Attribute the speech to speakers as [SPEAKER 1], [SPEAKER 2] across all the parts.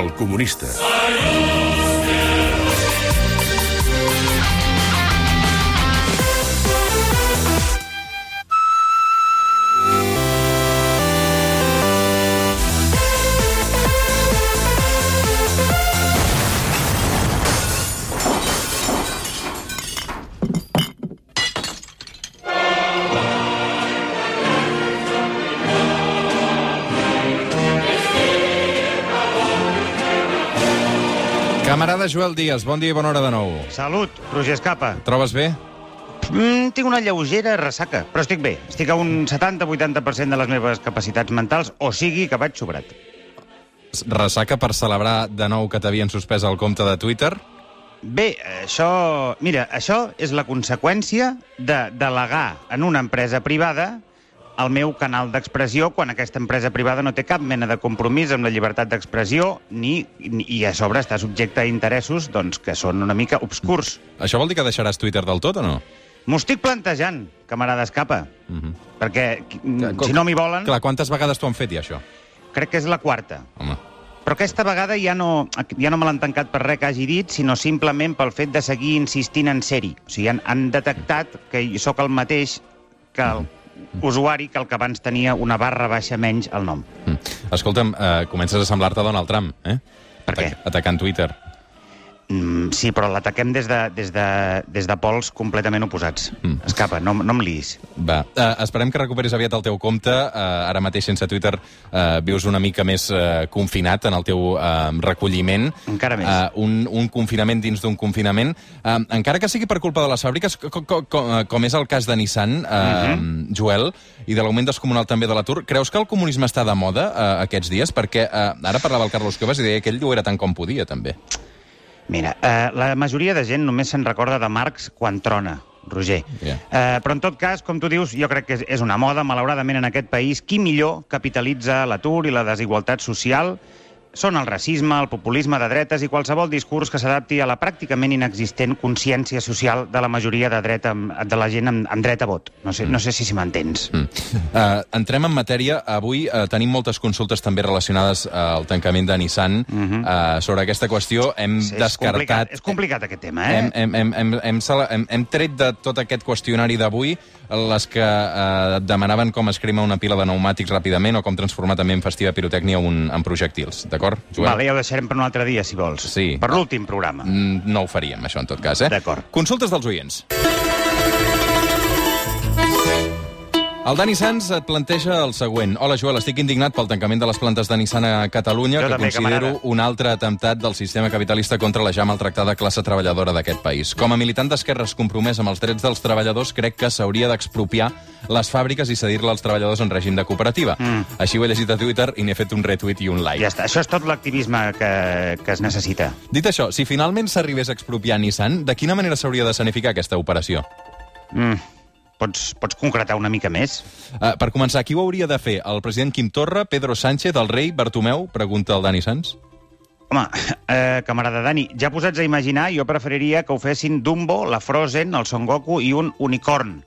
[SPEAKER 1] El comunista.
[SPEAKER 2] Camarada Joel Díaz, bon dia i bona hora de nou.
[SPEAKER 3] Salut, Roger Escapa.
[SPEAKER 2] Trobes bé?
[SPEAKER 3] Mm, tinc una lleugera ressaca, però estic bé. Estic a un 70-80% de les meves capacitats mentals, o sigui que vaig sobrat.
[SPEAKER 2] Ressaca per celebrar de nou que t'havien suspès el compte de Twitter?
[SPEAKER 3] Bé, això... Mira, això és la conseqüència de delegar en una empresa privada el meu canal d'expressió quan aquesta empresa privada no té cap mena de compromís amb la llibertat d'expressió ni, ni, i a sobre està subjecte a interessos doncs, que són una mica obscurs.
[SPEAKER 2] Això vol dir que deixaràs Twitter del tot o no?
[SPEAKER 3] M'ho estic plantejant, camarada escapa,
[SPEAKER 2] Mm -hmm.
[SPEAKER 3] perquè mm, si no m'hi volen,
[SPEAKER 2] Clar, quantes vegades t'ho han fet, i això?
[SPEAKER 3] crec que és la quarta.
[SPEAKER 2] Home.
[SPEAKER 3] Però aquesta vegada ja no, ja no me l'han tancat per res que hagi dit, sinó simplement pel fet de seguir insistint en ser-hi. O sigui, han, han detectat que jo sóc el mateix que el usuari que el que abans tenia una barra baixa menys el nom.
[SPEAKER 2] Mm. Escolta'm, eh, comences a semblar-te a Donald Trump, eh?
[SPEAKER 3] Per què?
[SPEAKER 2] Atac- Atacant Twitter.
[SPEAKER 3] Mm, sí, però l'ataquem des, de, des, de, des de pols completament oposats.
[SPEAKER 2] Mm.
[SPEAKER 3] Escapa, no, no em liis.
[SPEAKER 2] Va, eh, esperem que recuperis aviat el teu compte. Eh, ara mateix, sense Twitter, eh, vius una mica més eh, confinat en el teu eh, recolliment.
[SPEAKER 3] Encara més.
[SPEAKER 2] Eh, un, un confinament dins d'un confinament. Eh, encara que sigui per culpa de les fàbriques, com, com, com és el cas de Nissan, eh,
[SPEAKER 3] Mhm.
[SPEAKER 2] Joel, i de l'augment descomunal també de l'atur, creus que el comunisme està de moda eh, aquests dies? Perquè eh, ara parlava el Carlos Cuevas i deia que ell ho era tant com podia, també.
[SPEAKER 3] Mira, eh, la majoria de gent només se'n recorda de Marx quan trona, Roger.
[SPEAKER 2] Ja.
[SPEAKER 3] Eh, però en tot cas, com tu dius, jo crec que és, és una moda, malauradament, en aquest país. Qui millor capitalitza l'atur i la desigualtat social són el racisme, el populisme de dretes i qualsevol discurs que s'adapti a la pràcticament inexistent consciència social de la majoria de, dreta, de la gent amb, amb dret a vot. No sé, no sé si si m'entens.
[SPEAKER 2] Mm. Uh, entrem en matèria. Avui uh, tenim moltes consultes també relacionades eh, al tancament de Nissan.
[SPEAKER 3] Mhm.
[SPEAKER 2] uh, sobre aquesta qüestió hem
[SPEAKER 3] És, és, complicat,
[SPEAKER 2] descartat...
[SPEAKER 3] és complicat aquest tema, eh?
[SPEAKER 2] Hem, hem, hem, hem, hem, sele- hem, hem tret de tot aquest qüestionari d'avui les que eh, et demanaven com es crema una pila de pneumàtics ràpidament o com transformar també en festiva pirotècnia un, en projectils, d'acord, Joel?
[SPEAKER 3] Vale, ja ho deixarem per un altre dia, si vols.
[SPEAKER 2] Sí.
[SPEAKER 3] Per l'últim programa.
[SPEAKER 2] Mm, No ho faríem, això, en tot cas, eh?
[SPEAKER 3] D'acord.
[SPEAKER 2] Consultes dels oients. El Dani Sanz et planteja el següent. Hola, Joel, estic indignat pel tancament de les plantes de Nissan a Catalunya,
[SPEAKER 3] Jo
[SPEAKER 2] que
[SPEAKER 3] també,
[SPEAKER 2] considero
[SPEAKER 3] camarada.
[SPEAKER 2] un altre atemptat del sistema capitalista contra la ja maltractada classe treballadora d'aquest país. Com a militant d'esquerres compromès amb els drets dels treballadors, crec que s'hauria d'expropiar les fàbriques i cedir-la als treballadors en règim de cooperativa.
[SPEAKER 3] Mm.
[SPEAKER 2] Així ho he llegit a Twitter i n'he fet un retweet i un like.
[SPEAKER 3] Ja està, això és tot l'activisme que, que es necessita.
[SPEAKER 2] Dit això, si finalment s'arribés a expropiar Nissan, de quina manera s'hauria de sanificar aquesta operació?
[SPEAKER 3] Mm. Pots, pots concretar una mica més?
[SPEAKER 2] Uh, per començar, qui ho hauria de fer? El president Quim Torra, Pedro Sánchez, el rei, Bartomeu? Pregunta el Dani Sanz.
[SPEAKER 3] Home, eh, camarada Dani, ja posats a imaginar, jo preferiria que ho fessin Dumbo, la Frozen, el Son Goku i un unicorn.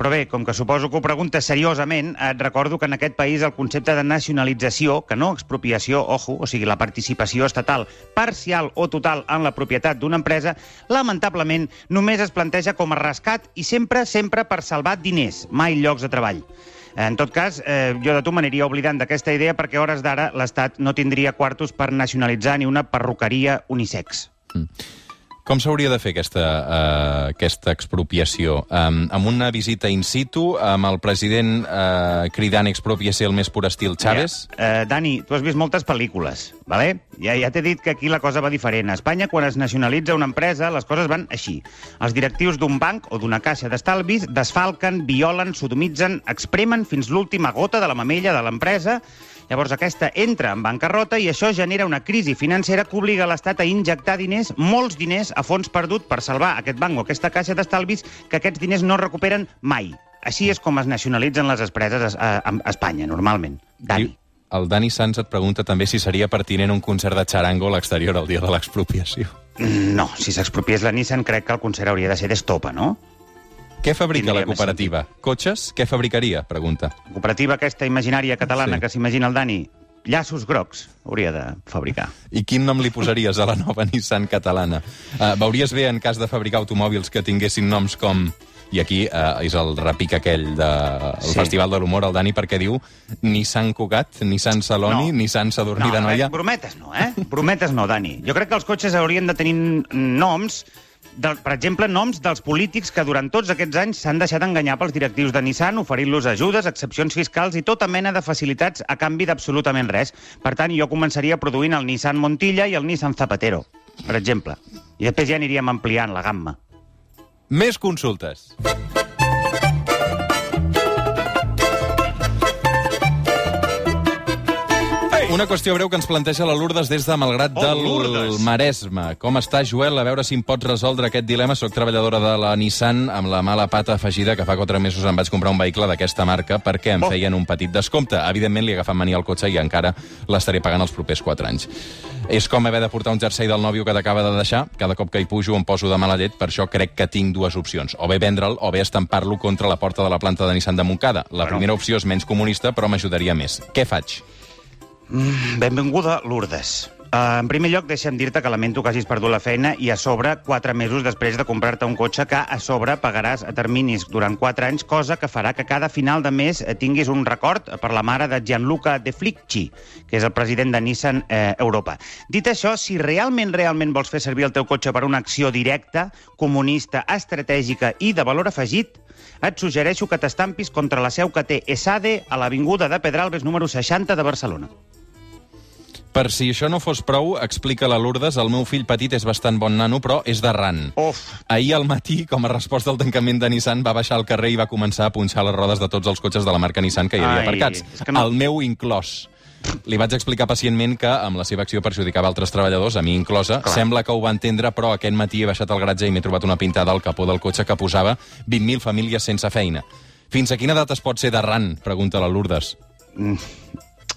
[SPEAKER 3] Però bé, com que suposo que ho preguntes seriosament, et recordo que en aquest país el concepte de nacionalització, que no expropiació, ojo, o sigui, la participació estatal parcial o total en la propietat d'una empresa, lamentablement només es planteja com a rescat i sempre, sempre per salvar diners, mai llocs de treball. En tot cas, eh, jo de tu m'aniria oblidant d'aquesta idea perquè a hores d'ara l'Estat no tindria quartos per nacionalitzar ni una perruqueria unisex.
[SPEAKER 2] Com s'hauria de fer aquesta, uh, aquesta expropiació? Um, amb una visita in situ, amb el president uh, cridant expropiació el més pur estil Chávez?
[SPEAKER 3] Eh, Dani, tu has vist moltes pel·lícules, vale? Ja, ja t'he dit que aquí la cosa va diferent. A Espanya, quan es nacionalitza una empresa, les coses van així. Els directius d'un banc o d'una caixa d'estalvis desfalquen, violen, sodomitzen, expremen fins l'última gota de la mamella de l'empresa Llavors aquesta entra en bancarrota i això genera una crisi financera que obliga l'Estat a injectar diners, molts diners, a fons perdut per salvar aquest banc o aquesta caixa d'estalvis que aquests diners no recuperen mai. Així és com es nacionalitzen les empreses a, a, a Espanya, normalment. Dani.
[SPEAKER 2] I El Dani Sanz et pregunta també si seria pertinent un concert de xarango a l'exterior el dia de l'expropiació.
[SPEAKER 3] Mm, No, si s'expropiés la Nissan crec que el concert hauria de ser d'estopa, no?
[SPEAKER 2] Què fabrica
[SPEAKER 3] Tindria
[SPEAKER 2] la
[SPEAKER 3] més
[SPEAKER 2] cooperativa? Cotxes? Què fabricaria? Pregunta.
[SPEAKER 3] La cooperativa aquesta imaginària catalana
[SPEAKER 2] Sí.
[SPEAKER 3] sí. que s'imagina el Dani, Llaços grocs hauria de fabricar.
[SPEAKER 2] I quin nom li posaries a la nova Nissan catalana? Uh, veuries bé en cas de fabricar automòbils que tinguessin noms com... I aquí uh, és el repic aquell del de...
[SPEAKER 3] Sí.
[SPEAKER 2] sí. Festival de l'Humor, el Dani, perquè diu Nissan Cugat, Nissan Saloni,
[SPEAKER 3] No.
[SPEAKER 2] no. Nissan Sadurní
[SPEAKER 3] no,
[SPEAKER 2] de
[SPEAKER 3] eh,
[SPEAKER 2] Noia...
[SPEAKER 3] brometes no, eh? Brometes no, Dani. Jo crec que els cotxes haurien de tenir noms del, per exemple, noms dels polítics que durant tots aquests anys s'han deixat enganyar pels directius de Nissan, oferint-los ajudes, excepcions fiscals i tota mena de facilitats a canvi d'absolutament res. Per tant, jo començaria produint el Nissan Montilla i el Nissan Zapatero, per exemple. I després ja aniríem ampliant la gamma.
[SPEAKER 2] Més consultes. Una qüestió breu que ens planteja la Lourdes des de Malgrat
[SPEAKER 3] Oh,
[SPEAKER 2] del
[SPEAKER 3] Lourdes.
[SPEAKER 2] Maresme. Com està, Joel? A veure si em pots resoldre aquest dilema. Soc treballadora de la Nissan amb la mala pata afegida que fa 4 mesos em vaig comprar un vehicle d'aquesta marca perquè em
[SPEAKER 3] Oh.
[SPEAKER 2] feien un petit descompte. Evidentment, li he agafat mania al cotxe i encara l'estaré pagant els propers 4 anys. És com haver de portar un jersei del nòvio que t'acaba de deixar. Cada cop que hi pujo em poso de mala llet, per això crec que tinc dues opcions. O bé vendre'l o bé estampar-lo contra la porta de la planta de Nissan de Montcada. La
[SPEAKER 3] Bueno.
[SPEAKER 2] primera opció és menys comunista, però m'ajudaria més. Què faig?
[SPEAKER 3] Benvinguda, Lourdes. Uh, en primer lloc, deixa'm dir-te que lamento que hagis perdut la feina i a sobre, quatre mesos després de comprar-te un cotxe que a sobre pagaràs a terminis durant quatre anys, cosa que farà que cada final de mes eh, tinguis un record per la mare de Gianluca De Flicci, que és el president de Nissan eh, Europa. Dit això, si realment, realment vols fer servir el teu cotxe per una acció directa, comunista, estratègica i de valor afegit, et suggereixo que t'estampis contra la seu que té ESADE a l'Avinguda de Pedralbes número 60 de Barcelona.
[SPEAKER 2] Per si això no fos prou, explica la Lourdes, el meu fill petit és bastant bon nano, però és d'arran.
[SPEAKER 3] Uf,
[SPEAKER 2] Ahir al matí, com a resposta al tancament de Nissan, va baixar al carrer i va començar a punxar les rodes de tots els cotxes de la marca Nissan que hi havia
[SPEAKER 3] Ai,
[SPEAKER 2] aparcats.
[SPEAKER 3] és que no-
[SPEAKER 2] El meu inclòs. Li vaig explicar pacientment que amb la seva acció perjudicava altres treballadors, a mi inclosa.
[SPEAKER 3] Clar.
[SPEAKER 2] Clar. Sembla que ho va entendre, però aquest matí he baixat al garatge i m'he trobat una pintada al capó del cotxe que posava 20.000 famílies sense feina. Fins a quina edat es pot ser d'arran? Pregunta la Lourdes.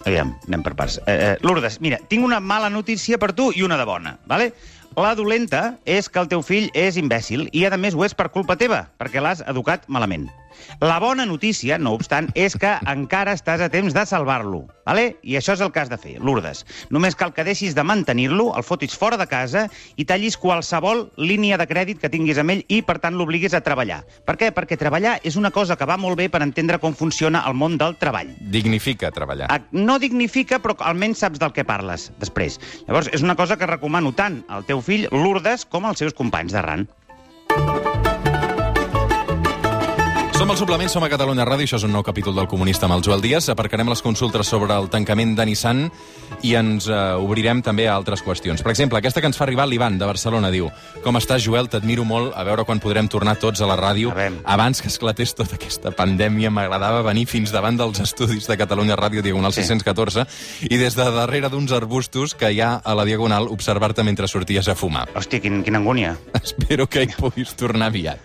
[SPEAKER 3] Aviam, anem per parts. Eh, eh, Lourdes, mira, tinc una mala notícia per tu i una de bona, vale? La dolenta és que el teu fill és imbècil i, a més, ho és per culpa teva, perquè l'has educat malament. La bona notícia, no obstant, és que encara estàs a temps de salvar-lo, vale? I això és el que has de fer, Lourdes. Només cal que deixis de mantenir-lo, el fotis fora de casa i tallis qualsevol línia de crèdit que tinguis amb ell i, per tant, l'obliguis a treballar. Per què? Perquè treballar és una cosa que va molt bé per entendre com funciona el món del treball.
[SPEAKER 2] Dignifica treballar.
[SPEAKER 3] Ah, No dignifica, però almenys saps del que parles després. Llavors, és una cosa que recomano tant al teu fill Lourdes com als seus companys de RAN.
[SPEAKER 2] Som al suplement, som a Catalunya Ràdio, això és un nou capítol del Comunista amb el Joel Díaz. Aparcarem les consultes sobre el tancament de Nissan i ens eh, obrirem també a altres qüestions. Per exemple, aquesta que ens fa arribar l'Ivan, de Barcelona, diu Com estàs, Joel? T'admiro molt. A veure quan podrem tornar tots a la ràdio.
[SPEAKER 3] A veure.
[SPEAKER 2] Abans que esclatés tota aquesta pandèmia, m'agradava venir fins davant dels estudis de Catalunya Ràdio Diagonal
[SPEAKER 3] Sí.
[SPEAKER 2] 614 i des de darrere d'uns arbustos que hi ha a la Diagonal observar-te mentre sorties a fumar.
[SPEAKER 3] Hòstia, quin, quina angúnia,
[SPEAKER 2] Espero que hi puguis tornar aviat.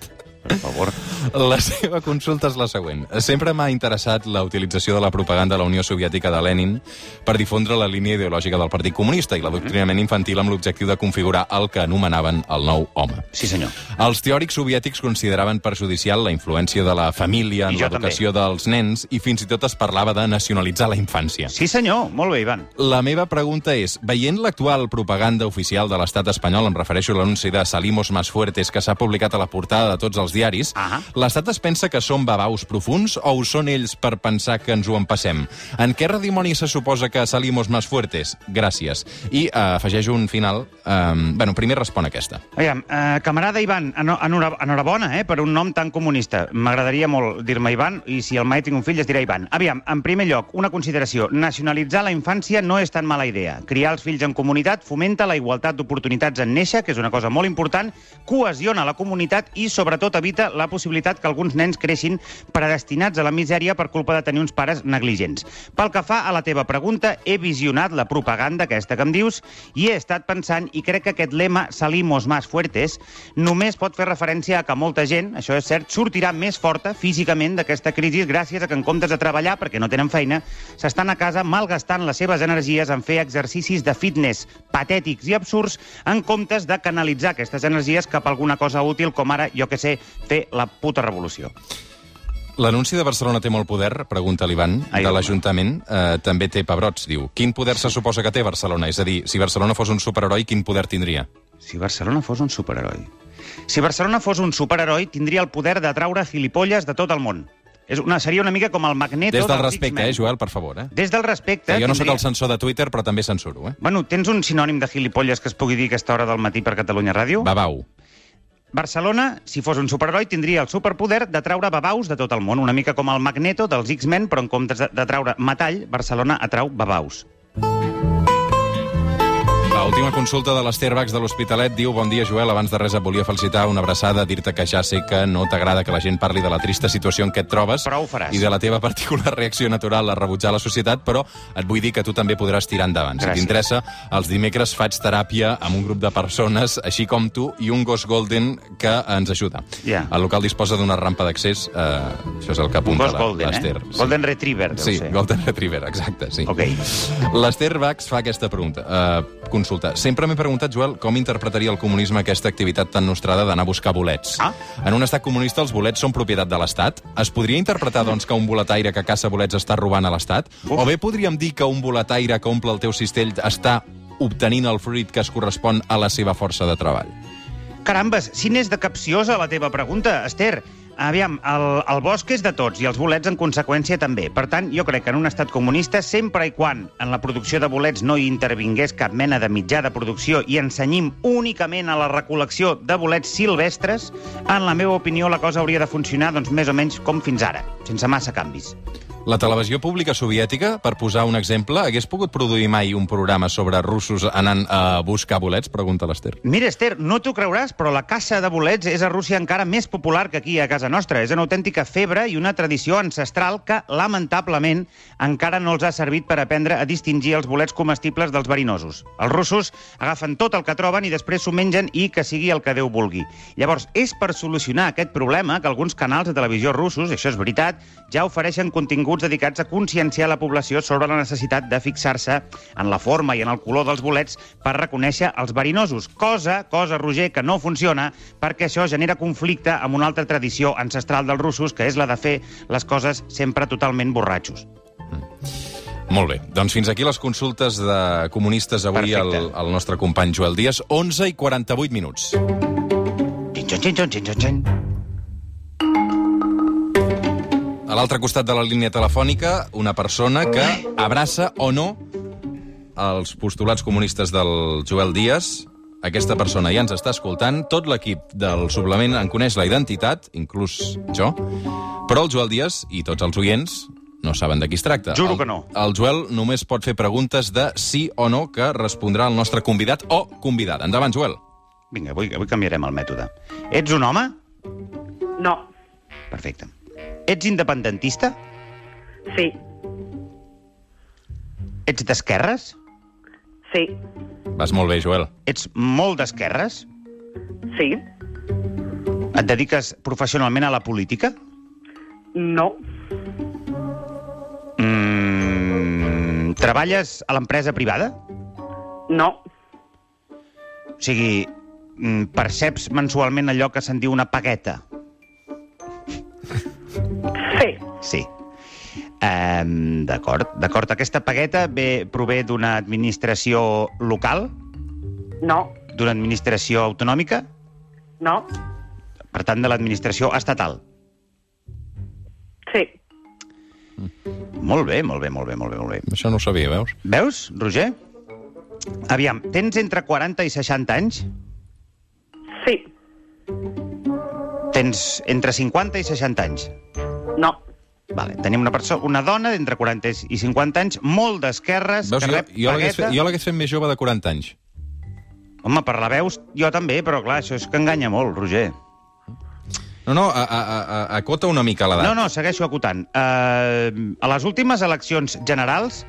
[SPEAKER 3] per favor.
[SPEAKER 2] La seva consulta és la següent. Sempre m'ha interessat la utilització de la propaganda de la Unió Soviètica de Lenin per difondre la línia ideològica del Partit Comunista i l'adoctrinament infantil amb l'objectiu de configurar el que anomenaven el nou home.
[SPEAKER 3] Sí, senyor.
[SPEAKER 2] Els teòrics soviètics consideraven perjudicial la influència de la família
[SPEAKER 3] I
[SPEAKER 2] en
[SPEAKER 3] jo
[SPEAKER 2] l'educació dels nens i fins i tot es parlava de nacionalitzar la infància.
[SPEAKER 3] Sí, senyor. Molt bé, Ivan.
[SPEAKER 2] La meva pregunta és, veient l'actual propaganda oficial de l'estat espanyol, em refereixo a l'anunci de Salimos más fuertes que s'ha publicat a la portada de tots els diaris,
[SPEAKER 3] Ah.
[SPEAKER 2] l'estat es pensa que són babaus profuns o ho són ells per pensar que ens ho empassem? En què redimoni se suposa que Salimos más fuertes? Gràcies. I eh, afegeixo un final... Eh, bueno, primer respon aquesta.
[SPEAKER 3] Aviam, eh, camarada Ivan, eno- enhora- enhorabona eh, per un nom tan comunista. M'agradaria molt dir-me Ivan, i si el mai tinc un fill es dirà Ivan. Aviam, en primer lloc, una consideració. Nacionalitzar la infància no és tan mala idea. Criar els fills en comunitat fomenta la igualtat d'oportunitats en néixer, que és una cosa molt important, cohesiona la comunitat i, sobretot, evita la possibilitat que alguns nens creixin predestinats a la misèria per culpa de tenir uns pares negligents. Pel que fa a la teva pregunta, he visionat la propaganda aquesta que em dius i he estat pensant i crec que aquest lema Salimos más fuertes només pot fer referència a que molta gent, això és cert, sortirà més forta físicament d'aquesta crisi gràcies a que en comptes de treballar perquè no tenen feina, s'estan a casa malgastant les seves energies en fer exercicis de fitness patètics i absurds en comptes de canalitzar aquestes energies cap a alguna cosa útil com ara, jo que sé, fer la puta revolució.
[SPEAKER 2] L'anunci de Barcelona té molt poder, pregunta l'Ivan,
[SPEAKER 3] Ai,
[SPEAKER 2] de
[SPEAKER 3] home.
[SPEAKER 2] l'Ajuntament. Eh, també té pebrots, diu. Quin poder se suposa que té Barcelona? És a dir, si Barcelona fos un superheroi, quin poder tindria?
[SPEAKER 3] Si Barcelona fos un superheroi. Si Barcelona fos un superheroi, tindria el poder d'atraure filipolles de tot el món. És una, seria una mica com el magneto...
[SPEAKER 2] Des del
[SPEAKER 3] dels
[SPEAKER 2] respecte,
[SPEAKER 3] X-Men.
[SPEAKER 2] eh, Joel, per favor, eh?
[SPEAKER 3] Des del respecte...
[SPEAKER 2] Que jo no sóc
[SPEAKER 3] tindria-
[SPEAKER 2] el censor de Twitter, però també censuro, eh?
[SPEAKER 3] Bueno, tens un sinònim de gilipolles que es pugui dir a aquesta hora del matí per Catalunya Ràdio?
[SPEAKER 2] Babau.
[SPEAKER 3] Barcelona, si fos un superheroi, tindria el superpoder de traure babaus de tot el món, una mica com el Magneto dels X-Men, però en comptes de, de traure metall, Barcelona atrau babaus.
[SPEAKER 2] La última consulta de l'Ester Bax de l'Hospitalet diu Bon dia, Joel, abans de res et volia felicitar una abraçada, dir-te que ja sé que no t'agrada que la gent parli de la trista situació en què et trobes
[SPEAKER 3] Però ho faràs.
[SPEAKER 2] i de la teva particular reacció natural a rebutjar la societat, però et vull dir que tu també podràs tirar endavant.
[SPEAKER 3] Gràcies.
[SPEAKER 2] Si t'interessa, els dimecres faig teràpia amb un grup de persones, així com tu, i un gos golden que ens ajuda.
[SPEAKER 3] Ja.
[SPEAKER 2] El local disposa d'una rampa d'accés, eh, això és el que
[SPEAKER 3] Un
[SPEAKER 2] apunta
[SPEAKER 3] gos
[SPEAKER 2] la-
[SPEAKER 3] golden, eh?
[SPEAKER 2] l'Ester.
[SPEAKER 3] Golden Retriever, deu
[SPEAKER 2] Sí,
[SPEAKER 3] ser.
[SPEAKER 2] Golden Retriever, exacte, sí.
[SPEAKER 3] Ok.
[SPEAKER 2] L'Ester Bax fa aquesta pregunta, uh, consulta. Sempre m'he preguntat, Joel, com interpretaria el comunisme aquesta activitat tan nostrada d'anar a buscar bolets.
[SPEAKER 3] Ah.
[SPEAKER 2] En un estat comunista els bolets són propietat de l'Estat. Es podria interpretar, doncs, que un boletaire que caça bolets està robant a l'Estat?
[SPEAKER 3] Uf.
[SPEAKER 2] O bé podríem dir que un boletaire que omple el teu cistell està obtenint el fruit que es correspon a la seva força de treball.
[SPEAKER 3] Carambes, si n'és de capciosa la teva pregunta, Esther. Aviam, el, el bosc és de tots i els bolets en conseqüència també. Per tant, jo crec que en un estat comunista, sempre i quan en la producció de bolets no hi intervingués cap mena de mitjà de producció i ensenyim únicament a la recol·lecció de bolets silvestres, en la meva opinió la cosa hauria de funcionar doncs, més o menys com fins ara, sense massa canvis.
[SPEAKER 2] La televisió pública soviètica, per posar un exemple, hagués pogut produir mai un programa sobre russos anant a buscar bolets? Pregunta l'Ester.
[SPEAKER 3] Mira, Esther, no t'ho creuràs, però la caça de bolets és a Rússia encara més popular que aquí a casa nostra. És una autèntica febre i una tradició ancestral que, lamentablement, encara no els ha servit per aprendre a distingir els bolets comestibles dels verinosos. Els russos agafen tot el que troben i després s'ho mengen i que sigui el que Déu vulgui. Llavors, és per solucionar aquest problema que alguns canals de televisió russos, això és veritat, ja ofereixen continguts dedicats a conscienciar la població sobre la necessitat de fixar-se en la forma i en el color dels bolets per reconèixer els verinosos. Cosa, cosa, Roger, que no funciona perquè això genera conflicte amb una altra tradició ancestral dels russos, que és la de fer les coses sempre totalment borratxos.
[SPEAKER 2] Molt bé, doncs fins aquí les consultes de comunistes avui al,
[SPEAKER 3] Perfecte.
[SPEAKER 2] al nostre company Joel Díaz. 11 i 48 minuts.
[SPEAKER 3] Xin, xin, xin, xin, xin, xin.
[SPEAKER 2] A l'altre costat de la línia telefònica, una persona que abraça o no els postulats comunistes del Joel Díaz. Aquesta persona ja ens està escoltant. Tot l'equip del suplement en coneix la identitat, inclús jo, però el Joel Díaz i tots els oients no saben de qui es tracta.
[SPEAKER 3] Juro
[SPEAKER 2] el,
[SPEAKER 3] que no.
[SPEAKER 2] El Joel només pot fer preguntes de sí o no que respondrà el nostre convidat o convidada. Endavant, Joel.
[SPEAKER 3] Vinga, avui, avui canviarem el mètode. Ets un home?
[SPEAKER 1] No,
[SPEAKER 3] Perfecte. Ets independentista?
[SPEAKER 1] sí,
[SPEAKER 3] Ets d'esquerres?
[SPEAKER 1] sí,
[SPEAKER 2] Vas molt bé, Joel.
[SPEAKER 3] Ets molt d'esquerres?
[SPEAKER 1] sí,
[SPEAKER 3] Et dediques professionalment a la política?
[SPEAKER 1] no,
[SPEAKER 3] Mm, treballes a l'empresa privada?
[SPEAKER 1] no,
[SPEAKER 3] O sigui, mm, perceps mensualment allò que se'n diu una pagueta?
[SPEAKER 1] sí,
[SPEAKER 3] Sí. Um, d'acord, d'acord. Aquesta pagueta ve, prové d'una administració local,
[SPEAKER 1] no,
[SPEAKER 3] d'una administració autonòmica,
[SPEAKER 1] no,
[SPEAKER 3] per tant, de l'administració estatal.
[SPEAKER 1] sí,
[SPEAKER 3] Molt bé, molt bé, molt bé, molt bé, molt bé.
[SPEAKER 2] Això no ho sabia, veus?
[SPEAKER 3] Veus, Roger? Aviam, tens entre 40 i 60 anys?
[SPEAKER 1] sí,
[SPEAKER 3] Tens entre 50 i 60 anys.
[SPEAKER 1] no,
[SPEAKER 3] Vale. Tenim una persona, una dona d'entre 40 i 50 anys, molt d'esquerres,
[SPEAKER 2] Veus,
[SPEAKER 3] que
[SPEAKER 2] jo,
[SPEAKER 3] rep
[SPEAKER 2] jo l'hagués
[SPEAKER 3] pagueta...
[SPEAKER 2] fet, jo l'hagués fet més jove de 40 anys.
[SPEAKER 3] Home, per la veus, jo també, però clar, això és que enganya molt, Roger.
[SPEAKER 2] No, no, a, a, a, a- acota una mica l'edat.
[SPEAKER 3] No, no, segueixo acotant. Uh, a les últimes eleccions generals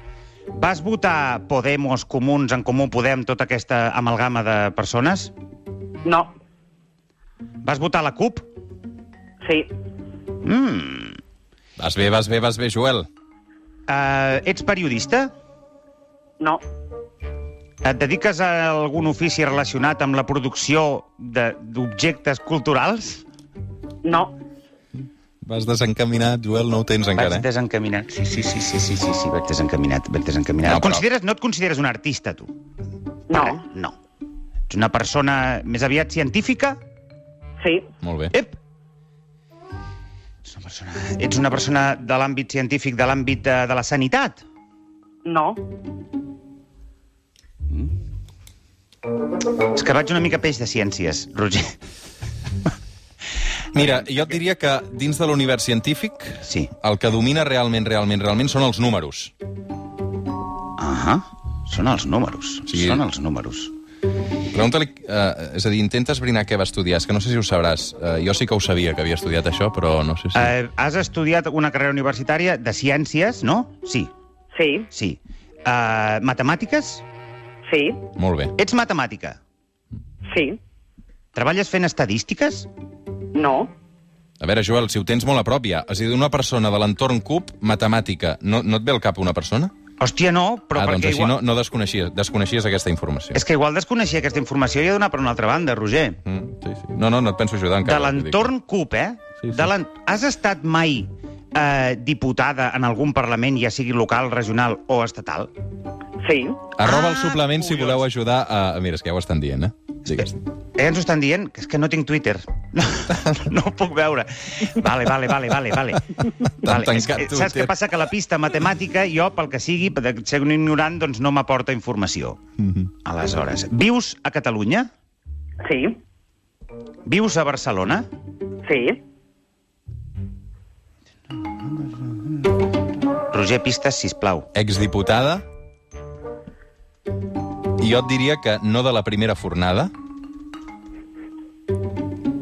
[SPEAKER 3] vas votar Podemos, Comuns, en Comú Podem, tota aquesta amalgama de persones?
[SPEAKER 1] no,
[SPEAKER 3] Vas votar la CUP?
[SPEAKER 1] sí,
[SPEAKER 3] Mm.
[SPEAKER 2] Vas bé, vas bé, vas bé, Joel.
[SPEAKER 3] Uh, ets periodista?
[SPEAKER 1] no,
[SPEAKER 3] Et dediques a algun ofici relacionat amb la producció de- d'objectes culturals?
[SPEAKER 1] no,
[SPEAKER 2] Vas desencaminat, Joel, no ho tens encara. eh?
[SPEAKER 3] Vaig desencaminat. Sí, sí, sí, sí, sí, sí, sí, vaig desencaminat, vaig desencaminat.
[SPEAKER 2] No,
[SPEAKER 3] No,
[SPEAKER 2] però-
[SPEAKER 3] consideres, no et consideres un artista, tu?
[SPEAKER 1] no,
[SPEAKER 3] No. Ets una persona més aviat científica?
[SPEAKER 1] sí,
[SPEAKER 2] Molt bé.
[SPEAKER 3] Ep! Ets una persona, ets una persona de l'àmbit científic, de l'àmbit de, de la sanitat?
[SPEAKER 1] no,
[SPEAKER 3] És que vaig una mica peix de ciències, Roger.
[SPEAKER 2] Mira, jo et diria que dins de l'univers científic
[SPEAKER 3] Sí.
[SPEAKER 2] el que domina realment, realment, realment són els números.
[SPEAKER 3] Ahà. Són els números.
[SPEAKER 2] Sí.
[SPEAKER 3] Sí. Són els números.
[SPEAKER 2] Pregunta-li, eh, és a dir, intenta esbrinar què va estudiar. És que no sé si ho sabràs. Eh, jo sí que ho sabia, que havia estudiat això, però no sé si...
[SPEAKER 3] Eh, has estudiat una carrera universitària de ciències, no? Sí,
[SPEAKER 1] sí,
[SPEAKER 3] sí. Eh, matemàtiques?
[SPEAKER 1] sí,
[SPEAKER 2] Molt bé.
[SPEAKER 3] Ets matemàtica.
[SPEAKER 1] sí,
[SPEAKER 3] Treballes fent estadístiques?
[SPEAKER 1] no,
[SPEAKER 2] A veure, Joel, si ho tens molt a prop, ja. És a dir, una persona de l'entorn cub, matemàtica. No, no et ve al cap una persona?
[SPEAKER 3] Hòstia, no, però
[SPEAKER 2] ah,
[SPEAKER 3] perquè
[SPEAKER 2] doncs així
[SPEAKER 3] igual...
[SPEAKER 2] no, no desconeixies, desconeixies aquesta informació.
[SPEAKER 3] És que igual desconeixia aquesta informació i he donat per una altra banda, Roger.
[SPEAKER 2] Mm, sí, sí. No, no, no et penso ajudar
[SPEAKER 3] De
[SPEAKER 2] encara. vull dir que-
[SPEAKER 3] l'entorn CUP, eh?
[SPEAKER 2] Sí, sí.
[SPEAKER 3] De l'en- Has estat mai eh, diputada en algun parlament, ja sigui local, regional o estatal?
[SPEAKER 1] sí,
[SPEAKER 2] Arroba el
[SPEAKER 3] Ah,
[SPEAKER 2] suplement si
[SPEAKER 3] curiós.
[SPEAKER 2] voleu ajudar a... Mira, és que ja ho estan dient, eh? Digues.
[SPEAKER 3] Eh, ens ho estan dient? Que és que no tinc Twitter. No, no ho puc veure. Vale, vale, vale, vale. vale. vale.
[SPEAKER 2] tancat
[SPEAKER 3] És que,
[SPEAKER 2] Twitter.
[SPEAKER 3] saps què passa? Que la pista matemàtica, jo, pel que sigui, per ser un ignorant, doncs no m'aporta informació.
[SPEAKER 2] Mhm.
[SPEAKER 3] Aleshores, vius a Catalunya?
[SPEAKER 1] sí,
[SPEAKER 3] Vius a Barcelona?
[SPEAKER 1] sí,
[SPEAKER 3] Roger, pistes, sisplau.
[SPEAKER 2] Exdiputada. I jo et diria que no de la primera fornada.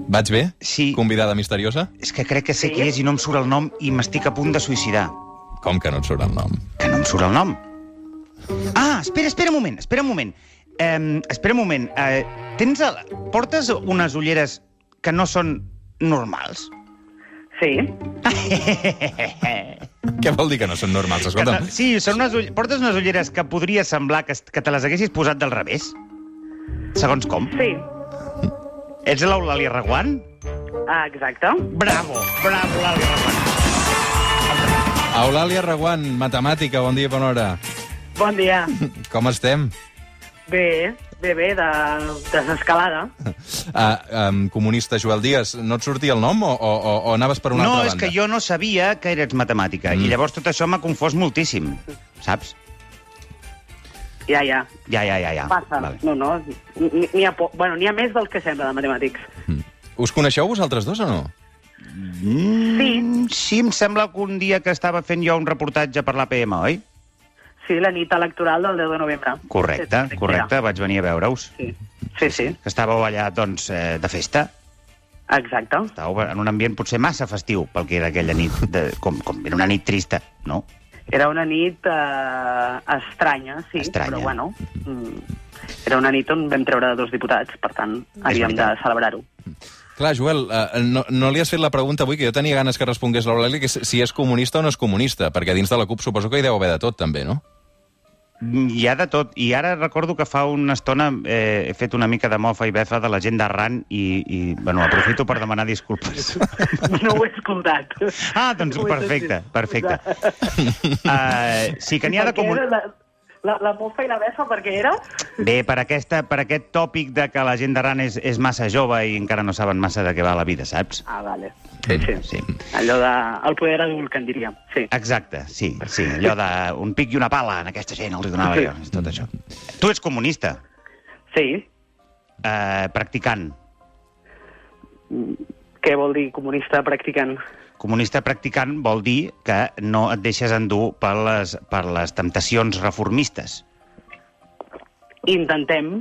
[SPEAKER 2] Vaig bé?
[SPEAKER 3] Sí.
[SPEAKER 2] Convidada misteriosa?
[SPEAKER 3] És que crec que sé
[SPEAKER 1] Sí?
[SPEAKER 3] qui és i no em surt el nom i m'estic a punt de suïcidar.
[SPEAKER 2] Com que no et surt el nom?
[SPEAKER 3] Que no em surt el nom. Ah, espera, espera un moment, espera un moment. Um, espera un moment. Uh, tens el... Portes unes ulleres que no són normals?
[SPEAKER 1] sí,
[SPEAKER 2] Què vol dir que no són normals?
[SPEAKER 3] Que te-
[SPEAKER 2] Escolta'm,
[SPEAKER 3] sí, són unes ull... portes unes ulleres que podria semblar que, es- que te les haguessis posat del revés? Segons com.
[SPEAKER 1] sí,
[SPEAKER 3] Ets l'Eulàlia Reguant?
[SPEAKER 1] ah, exacte,
[SPEAKER 3] Bravo, bravo, l'Eulàlia Reguant.
[SPEAKER 2] Eulàlia Reguant, matemàtica, bon dia, bona hora.
[SPEAKER 1] bon dia,
[SPEAKER 2] Com estem?
[SPEAKER 1] bé, bé, bé, de, desescalada,
[SPEAKER 2] Uh, um, comunista Joel Díaz, no et sortia el nom o, o, o, o anaves per una
[SPEAKER 3] No,
[SPEAKER 2] altra
[SPEAKER 3] és
[SPEAKER 2] banda?
[SPEAKER 3] que jo no sabia que eres matemàtica
[SPEAKER 2] Mm.
[SPEAKER 3] i llavors tot això m'ha confós moltíssim, saps?
[SPEAKER 1] ja, ja,
[SPEAKER 3] Ja, ja, ja, ja.
[SPEAKER 1] passa, no, no, n- n'hi ha, po... bueno, n'hi ha més del que sembla de matemàtics,
[SPEAKER 2] Us coneixeu vosaltres dos o no?
[SPEAKER 3] Mm, sí, em sembla que un dia que estava fent jo un reportatge per l'APM, oi?
[SPEAKER 1] sí, la nit electoral del 10 de novembre.
[SPEAKER 3] Correcte,
[SPEAKER 1] Sí,
[SPEAKER 3] correcte, vaig venir a veure-us.
[SPEAKER 1] Sí, sí, sí,
[SPEAKER 3] Que estàveu allà, doncs, eh, de festa.
[SPEAKER 1] exacte,
[SPEAKER 3] Estàveu en un ambient potser massa festiu pel que era aquella nit, de, com, com era una nit trista, no?
[SPEAKER 1] Era una nit eh, estranya, sí,
[SPEAKER 3] Estranya.
[SPEAKER 1] però bueno... Mm, era una nit on vam treure dos diputats, per tant, havíem de
[SPEAKER 3] veritat.
[SPEAKER 1] celebrar-ho.
[SPEAKER 2] Clar, Joel, eh, no, no li has fet la pregunta avui, que jo tenia ganes que respongués l'Eulàlia, que si- si és comunista o no és comunista, perquè dins de la CUP suposo que hi deu haver de tot, també, no?
[SPEAKER 3] Mm, Hi ha de tot. I ara recordo que fa una estona eh, he fet una mica de mofa i befa de la gent d'Arran i, i, bueno, aprofito per demanar disculpes.
[SPEAKER 1] No ho he escoltat.
[SPEAKER 3] Ah, doncs
[SPEAKER 1] No ho he
[SPEAKER 3] perfecte,
[SPEAKER 1] sentit.
[SPEAKER 3] perfecte. Uh, sí que n'hi ha de
[SPEAKER 1] Perquè
[SPEAKER 3] comun...
[SPEAKER 1] era La, la, la mofa i la befa, perquè era...
[SPEAKER 3] Bé, per, aquesta, per aquest tòpic de que la gent d'Arran és, és massa jove i encara no saben massa de què va la vida, saps?
[SPEAKER 1] Ah, vale. Sí, sí.
[SPEAKER 3] Sí. Eh.
[SPEAKER 1] Allò de... El poder adult, que en diríem. Sí.
[SPEAKER 3] Exacte, sí, sí. Allò de un pic i una pala en aquesta gent, els hi donava jo, és tot això. Tu ets comunista,
[SPEAKER 1] Sí.
[SPEAKER 3] eh, practicant.
[SPEAKER 1] Què vol dir comunista practicant?
[SPEAKER 3] Comunista practicant vol dir que no et deixes endur per les, per les temptacions reformistes.
[SPEAKER 1] Intentem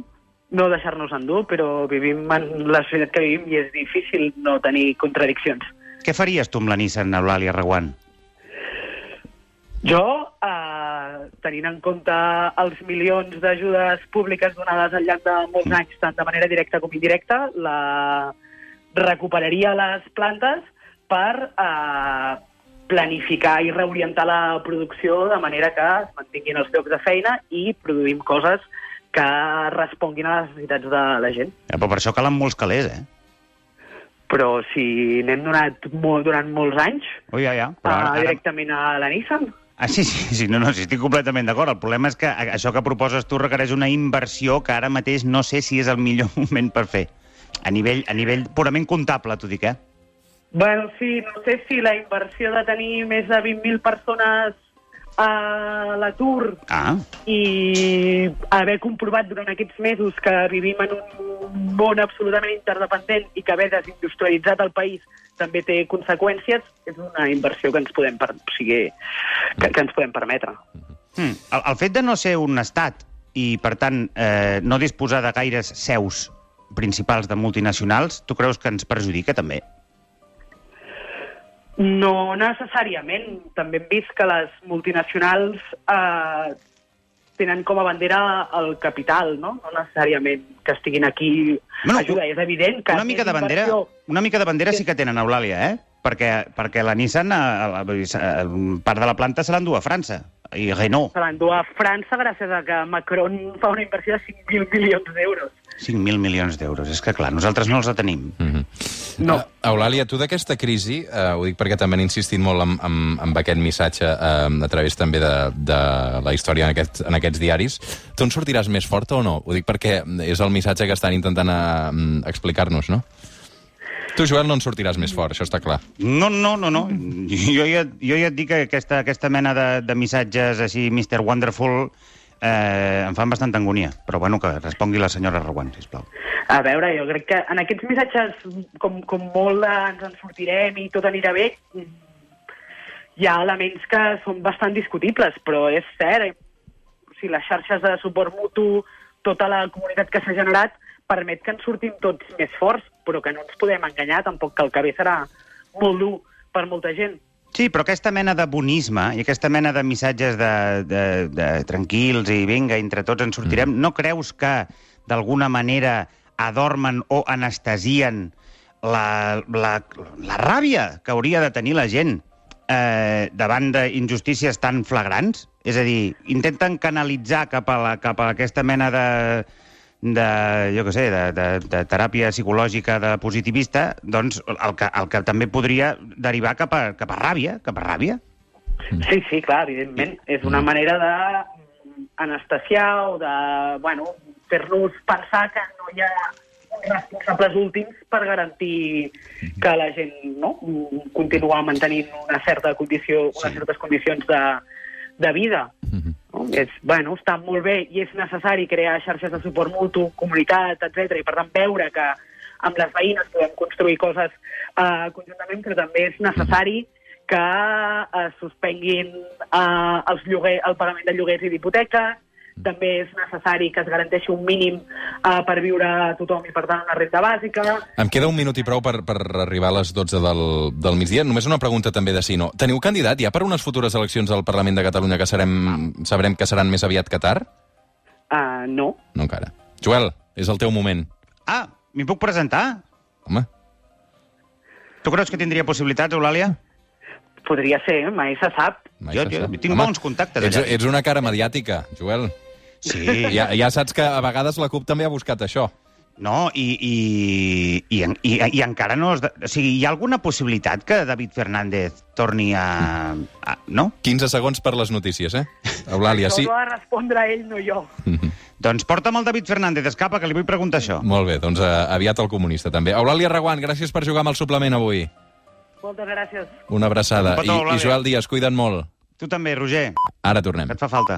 [SPEAKER 1] no deixar-nos endur, però vivim en la societat que vivim i és difícil no tenir contradiccions.
[SPEAKER 3] Què faries tu amb la Nissan, Eulàlia Reguant?
[SPEAKER 1] Jo, eh, tenint en compte els milions d'ajudes públiques donades al llarg de molts anys, tant de manera directa com indirecta, la... recuperaria les plantes per eh, planificar i reorientar la producció de manera que es mantinguin els llocs de feina i produïm coses que responguin a les necessitats de la gent.
[SPEAKER 3] Eh, però per això calen molts calés, eh?
[SPEAKER 1] però si n'hem donat molt, durant molts anys
[SPEAKER 3] Ui, ja, Ah, ja.
[SPEAKER 1] a,
[SPEAKER 3] Però ara, ara,
[SPEAKER 1] directament a la Nissan,
[SPEAKER 3] Ah, sí, sí, sí, no, no, sí, estic completament d'acord. El problema és que a- això que proposes tu requereix una inversió que ara mateix no sé si és el millor moment per fer. A nivell, a nivell purament comptable, t'ho dic, eh?
[SPEAKER 1] Bueno, sí, no sé si la inversió de tenir més de 20.000 persones a l'atur
[SPEAKER 3] Ah,
[SPEAKER 1] i haver comprovat durant aquests mesos que vivim en un món absolutament interdependent i que haver desindustrialitzat el país també té conseqüències, és una inversió que ens podem, per... o sigui, que, que ens podem permetre.
[SPEAKER 3] hm. el, el fet de no ser un estat i, per tant, eh, no disposar de gaires seus principals de multinacionals, tu creus que ens perjudica també?
[SPEAKER 1] No necessàriament. També hem vist que les multinacionals eh, tenen com a bandera el capital, no? No necessàriament que estiguin aquí
[SPEAKER 3] Bueno,
[SPEAKER 1] bueno, ajuda. És evident que...
[SPEAKER 3] una mica de
[SPEAKER 1] més
[SPEAKER 3] bandera,
[SPEAKER 1] inversió-
[SPEAKER 3] una mica de bandera sí que tenen, Eulàlia, eh? Perquè, perquè la Nissan, a, a, a, part de la planta se l'endú a França. I Renault,
[SPEAKER 1] Se l'endú a França gràcies a que Macron fa una inversió de 5.000 milions d'euros.
[SPEAKER 3] 5.000 milions d'euros. És que, clar, nosaltres no els la tenim.
[SPEAKER 1] No.
[SPEAKER 2] Eh, Eulàlia, tu d'aquesta crisi, eh, ho dic perquè també han insistit molt amb, amb, amb aquest missatge eh, a través també de, de la història en, aquest, en aquests diaris, tu en sortiràs més forta o no? Ho dic perquè és el missatge que estan intentant eh, explicar-nos, no? Tu, Joel, no en sortiràs més fort, això està clar.
[SPEAKER 3] No, no, no, no. Jo ja, jo ja et dic que aquesta, aquesta mena de, de missatges així, Mr. Wonderful, eh, em fan bastanta angúnia. Però, bueno, que respongui la senyora Reguant, sisplau.
[SPEAKER 1] A veure, jo crec que en aquests missatges, com, com molt de ens en sortirem i tot anirà bé, mm, hi ha elements que són bastant discutibles, però és cert, eh? o sigui, les xarxes de suport mutu, tota la comunitat que s'ha generat, permet que ens sortim tots més forts, però que no ens podem enganyar tampoc, que el que ve serà molt dur per molta gent.
[SPEAKER 3] Sí, però aquesta mena de bonisme i aquesta mena de missatges de, de, de tranquils i vinga, entre tots ens sortirem, no creus que d'alguna manera adormen o anestesien la, la, la ràbia que hauria de tenir la gent eh, davant d'injustícies tan flagrants? És a dir, intenten canalitzar cap a, la, cap a aquesta mena de, de, jo què sé, de, de, de teràpia psicològica de positivista, doncs el que, el que també podria derivar cap a, cap a ràbia, cap a ràbia.
[SPEAKER 1] Sí, sí, clar, evidentment. És una manera d'anestesiar o de, bueno, fer-nos pensar que no hi ha uns responsables últims per garantir que la gent no, mm, continua mantenint una certa condició, unes certes condicions de, de vida. No? És, bueno, està molt bé i és necessari crear xarxes de suport mutu, comunitat, etc. i per tant veure que amb les veïnes podem construir coses eh, conjuntament, però també és necessari que es suspenguin eh, els lloguer, el pagament de lloguers i d'hipoteques, també és necessari que es garanteixi un mínim eh, per viure a tothom i, per tant, una renda bàsica.
[SPEAKER 2] Em queda un minut i prou per, per arribar a les 12 del, del migdia. Només una pregunta també de si no. Teniu candidat ja per unes futures eleccions al Parlament de Catalunya que serem, sabrem que seran més aviat que tard?
[SPEAKER 1] Eh, no,
[SPEAKER 2] No encara. Joel, és el teu moment.
[SPEAKER 3] Ah, m'hi puc presentar?
[SPEAKER 2] Home,
[SPEAKER 3] Tu creus que tindria possibilitats, Eulàlia?
[SPEAKER 1] podria ser, eh, mai se sap.
[SPEAKER 2] mai
[SPEAKER 3] Jo-
[SPEAKER 2] se
[SPEAKER 3] jo
[SPEAKER 2] sap.
[SPEAKER 3] tinc bons contactes
[SPEAKER 2] ets,
[SPEAKER 3] allà.
[SPEAKER 2] ets una cara mediàtica, Joel.
[SPEAKER 3] Sí,
[SPEAKER 2] Ja, ja saps que a vegades la CUP també ha buscat això.
[SPEAKER 3] No, i, i, i, en- i, i encara no... Es de... O sigui, hi ha alguna possibilitat que David Fernández torni a... a... No?
[SPEAKER 2] 15 segons per les notícies, eh? Eulàlia, sí?
[SPEAKER 1] Això ho ha de respondre ell, no jo.
[SPEAKER 3] Doncs porta'm el David Fernández, escapa, que li vull preguntar això.
[SPEAKER 2] Molt bé, doncs eh, aviat el comunista també. Eulàlia Reguant, gràcies per jugar amb el suplement avui.
[SPEAKER 1] Moltes gràcies.
[SPEAKER 2] Una abraçada.
[SPEAKER 3] Un petó,
[SPEAKER 2] I,
[SPEAKER 3] Eulàlia.
[SPEAKER 2] I Joel Díaz, cuida't molt.
[SPEAKER 3] Tu també, Roger,
[SPEAKER 2] Ara tornem.
[SPEAKER 3] que et fa falta.